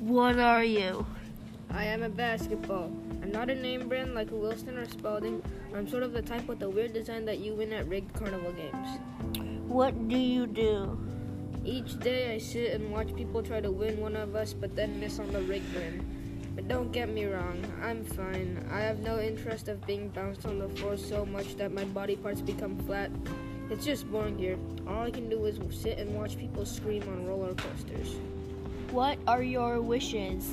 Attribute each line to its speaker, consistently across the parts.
Speaker 1: What are you?
Speaker 2: I am a basketball. I'm not a name brand like a Wilson or Spalding. I'm sort of the type with the weird design that you win at rigged carnival games.
Speaker 1: What do you do?
Speaker 2: Each day I sit and watch people try to win one of us but then miss on the rigged win. But don't get me wrong, I'm fine. I have no interest of being bounced on the floor so much that my body parts become flat. It's just boring here. All I can do is sit and watch people scream on roller coasters.
Speaker 1: What are your wishes?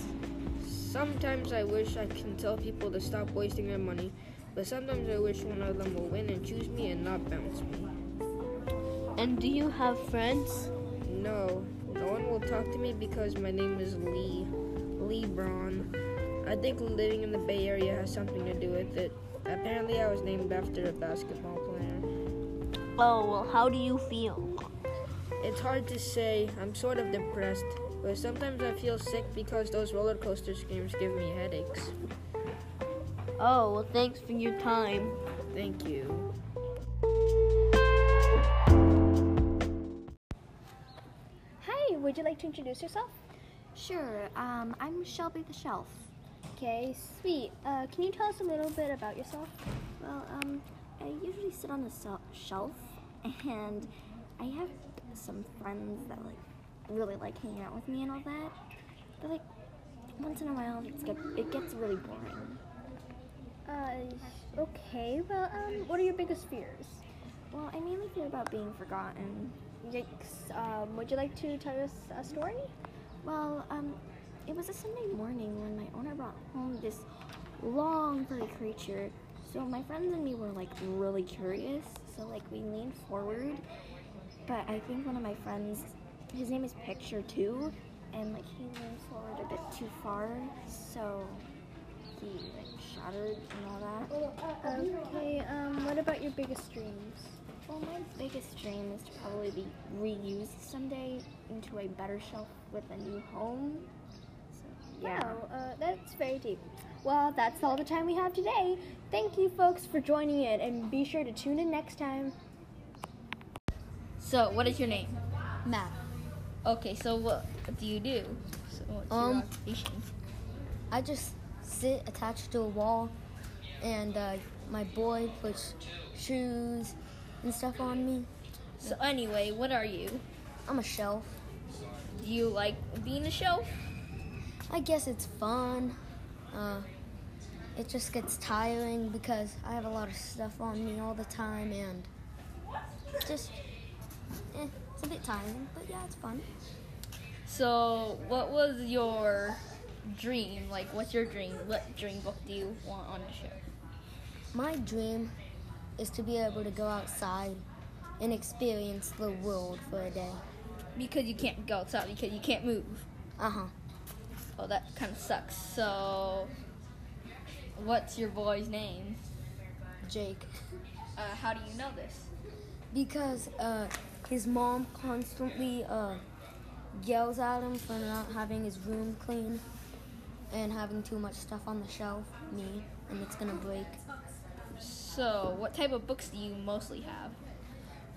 Speaker 2: Sometimes I wish I can tell people to stop wasting their money, but sometimes I wish one of them will win and choose me and not bounce me.
Speaker 1: And do you have friends?
Speaker 2: No, no one will talk to me because my name is Lee. Lee Braun. I think living in the Bay Area has something to do with it. Apparently, I was named after a basketball player.
Speaker 1: Oh, well, how do you feel?
Speaker 2: It's hard to say. I'm sort of depressed, but sometimes I feel sick because those roller coaster games give me headaches.
Speaker 1: Oh, well, thanks for your time.
Speaker 2: Thank you.
Speaker 3: Hi, would you like to introduce yourself?
Speaker 4: Sure, um, I'm Shelby the Shelf.
Speaker 3: Okay, sweet. Uh, can you tell us a little bit about yourself?
Speaker 4: Well, um, I usually sit on the sel- shelf, and I have some friends that like really like hanging out with me and all that. But like once in a while, it's get- it gets really boring.
Speaker 3: Uh, okay, well, um, what are your biggest fears?
Speaker 4: Well, I mainly fear about being forgotten.
Speaker 3: Yikes. Um, would you like to tell us a story?
Speaker 4: Well, um, it was a Sunday morning when my owner brought home this long furry creature. So my friends and me were like really curious. So like we leaned forward, but I think one of my friends, his name is Picture Two, and like he leaned forward a bit too far, so he like shattered and all that.
Speaker 3: Okay, um, what about your biggest dreams?
Speaker 4: Well, my biggest dream is to probably be reused someday into a better shelf with a new home. So yeah.
Speaker 3: Wow, uh, that's very deep. Well, that's all the time we have today. Thank you, folks, for joining in, and be sure to tune in next time.
Speaker 5: So, what is your name?
Speaker 6: Math.
Speaker 5: Okay, so what do you do? So, what's
Speaker 6: Um,
Speaker 5: your occupation?
Speaker 6: I just sit attached to a wall, and uh, my boy puts shoes and stuff on me.
Speaker 5: So, anyway, what are you?
Speaker 6: I'm a shelf.
Speaker 5: Do you like being a shelf?
Speaker 6: I guess it's fun. Uh, it just gets tiring because I have a lot of stuff on me all the time, and just eh, it's a bit tiring. But yeah, it's fun.
Speaker 5: So, what was your dream? Like, what's your dream? What dream book do you want on the show?
Speaker 6: My dream is to be able to go outside and experience the world for a day.
Speaker 5: Because you can't go outside because you can't move.
Speaker 6: Uh huh.
Speaker 5: Oh, that kind of sucks. So, what's your boy's name?
Speaker 6: Jake.
Speaker 5: Uh, how do you know this?
Speaker 6: Because uh, his mom constantly uh, yells at him for not having his room clean and having too much stuff on the shelf, me, and it's gonna break.
Speaker 5: So, what type of books do you mostly have?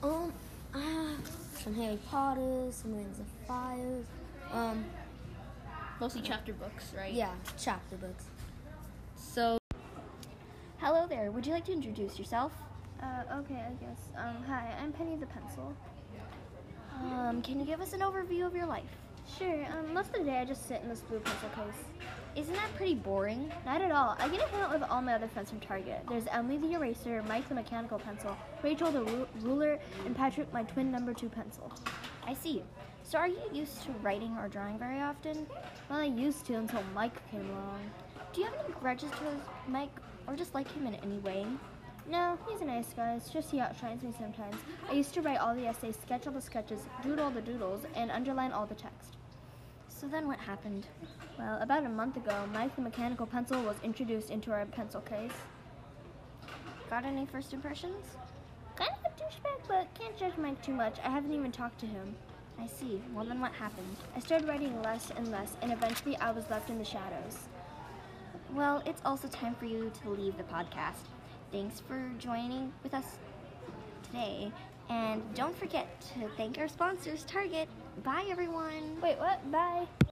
Speaker 6: Um, I have some Harry Potters, some Rings of Fire, um,
Speaker 5: Mostly chapter books, right?
Speaker 6: yeah, chapter books.
Speaker 5: So,
Speaker 4: Hello there. Would you like to introduce yourself?
Speaker 3: Uh, okay, I guess. Um, hi, I'm Penny the Pencil.
Speaker 4: Um, can you give us an overview of your life?
Speaker 3: Sure, um, most of the day I just sit in this blue pencil case.
Speaker 4: Isn't that pretty boring?
Speaker 3: Not at all. I get to hang out with all my other friends from Target. There's Emily the eraser, Mike the mechanical pencil, Rachel the ru- ruler, and Patrick my twin number two pencil.
Speaker 4: I see. So are you used to writing or drawing very often?
Speaker 3: Well, I used to until Mike came along.
Speaker 4: Do you have any grudges towards Mike or just like him in any way?
Speaker 3: No, he's a nice guy. It's just he outshines me sometimes. I used to write all the essays, sketch all the sketches, doodle all the doodles, and underline all the text.
Speaker 4: So then what happened?
Speaker 3: Well, about a month ago, Mike the mechanical pencil was introduced into our pencil case.
Speaker 4: Got any first impressions?
Speaker 3: Kind of a douchebag, but can't judge Mike too much. I haven't even talked to him. I see. Well, then what happened? I started writing less and less, and eventually I was left in the shadows.
Speaker 4: Well, it's also time for you to leave the podcast. Thanks for joining with us today. And don't forget to thank our sponsors, Target. Bye, everyone.
Speaker 3: Wait, what? Bye.